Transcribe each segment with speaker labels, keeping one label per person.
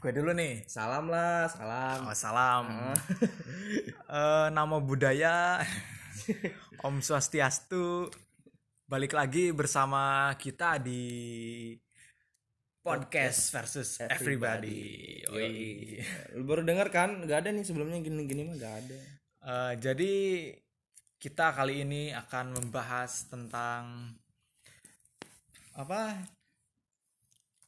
Speaker 1: gue dulu nih.
Speaker 2: Salam lah, salam.
Speaker 1: Oh, salam. Eh, nama budaya Om Swastiastu. Balik lagi bersama kita di podcast versus everybody. Yoi.
Speaker 2: Iya. Lu baru denger kan? Gak ada nih sebelumnya gini-gini mah gak ada.
Speaker 1: Eh, jadi kita kali ini akan membahas tentang apa?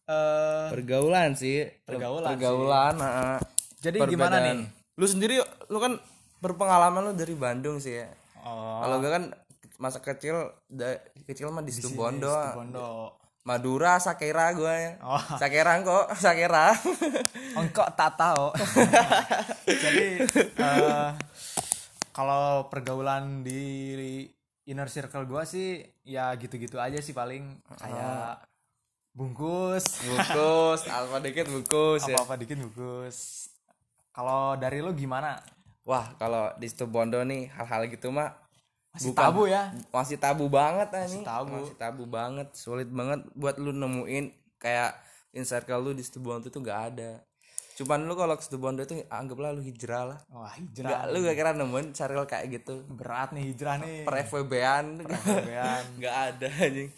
Speaker 1: Eh,
Speaker 2: Pergaulan sih.
Speaker 1: Pergaulan
Speaker 2: Pergaulan. heeh.
Speaker 1: jadi
Speaker 2: Perbedaan.
Speaker 1: gimana nih?
Speaker 2: Lu sendiri lu kan berpengalaman lu dari Bandung sih ya.
Speaker 1: Oh,
Speaker 2: Kalau gue kan masa kecil da- kecil mah di situ Bondo.
Speaker 1: Bondo.
Speaker 2: Madura, Sakera gue.
Speaker 1: Oh.
Speaker 2: Sakera kok, Sakera.
Speaker 1: Engkau tak tahu. Jadi eh, kalau pergaulan di inner circle gua sih ya gitu-gitu aja sih paling kayak bungkus
Speaker 2: bungkus, alfa dikit bungkus ya.
Speaker 1: apa-apa dikit bungkus. Kalau dari lo gimana?
Speaker 2: Wah, kalau di situ Bondo nih hal-hal gitu mah
Speaker 1: Masih
Speaker 2: Bukan.
Speaker 1: tabu ya?
Speaker 2: masih tabu banget anjing.
Speaker 1: tabu.
Speaker 2: Masih tabu banget, sulit banget buat lu nemuin kayak in circle lu di Situbondo tuh nggak ada. Cuman lu kalau ke Situbondo itu anggaplah lu hijrah lah.
Speaker 1: Wah
Speaker 2: Nggak,
Speaker 1: hijrah
Speaker 2: lu gak kira nemuin circle kayak gitu.
Speaker 1: berat nih hijrah nih.
Speaker 2: Per FWB-an
Speaker 1: Kebean.
Speaker 2: nggak ada anjing.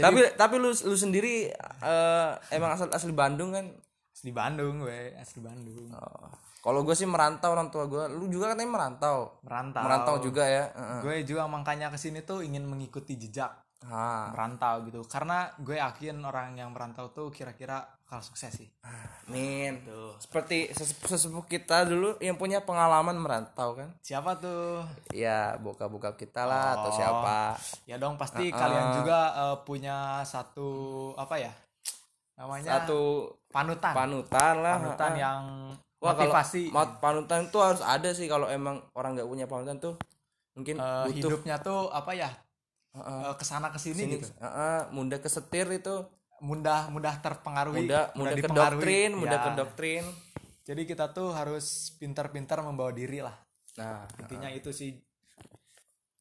Speaker 2: tapi tapi lu lu sendiri eh, emang asal asli Bandung kan?
Speaker 1: Asli Bandung gue, asli Bandung.
Speaker 2: Oh. Kalau gue sih merantau orang tua gue, lu juga katanya merantau.
Speaker 1: Merantau.
Speaker 2: Merantau juga ya. Heeh.
Speaker 1: Gue juga makanya kesini tuh ingin mengikuti jejak
Speaker 2: Ah,
Speaker 1: merantau gitu karena gue yakin orang yang merantau tuh kira-kira bakal sukses sih
Speaker 2: Min. Seperti sese- sesepuh kita dulu yang punya pengalaman merantau kan.
Speaker 1: siapa tuh
Speaker 2: Ya, buka-buka kita lah atau siapa.
Speaker 1: ya dong pasti
Speaker 2: Nah,
Speaker 1: kalian juga eh, punya satu apa ya namanya
Speaker 2: Satu
Speaker 1: panutan
Speaker 2: panutan
Speaker 1: Ya.
Speaker 2: lah.
Speaker 1: Ah, panutan
Speaker 2: Ha-ha.
Speaker 1: yang
Speaker 2: Wah, kalau
Speaker 1: motivasi eh,
Speaker 2: mat- panutan tuh harus ada sih kalau emang orang nggak punya panutan tuh mungkin
Speaker 1: eh,
Speaker 2: butuh
Speaker 1: hidupnya tuh apa ya
Speaker 2: Ha-ha.
Speaker 1: eh, kesana kesini gitu
Speaker 2: Ha-ha, mudah kesetir itu,
Speaker 1: mudah mudah terpengaruhi
Speaker 2: mudah mudah ke
Speaker 1: dipengaruhi.
Speaker 2: doktrin, mudah
Speaker 1: Ya.
Speaker 2: ke doktrin.
Speaker 1: jadi kita tuh harus pintar-pintar membawa diri lah
Speaker 2: Nah,
Speaker 1: intinya itu sih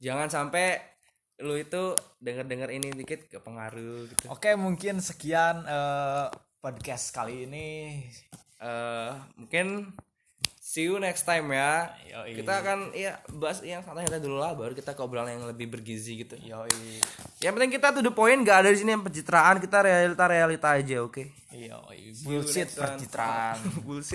Speaker 2: jangan sampai lu itu denger-denger ini dikit kepengaruh gitu.
Speaker 1: oke mungkin sekian eh, podcast kali ini
Speaker 2: eh mungkin see you next time ya.
Speaker 1: Yoi.
Speaker 2: Kita akan ya bahas yang santai-santai dulu lah baru kita ke obrolan yang lebih bergizi gitu.
Speaker 1: yoi
Speaker 2: Yang penting kita to the point gak ada di sini yang pencitraan, kita realita realita aja, oke?
Speaker 1: Iya, bullshit
Speaker 2: next one.
Speaker 1: pencitraan.
Speaker 2: Bullshit.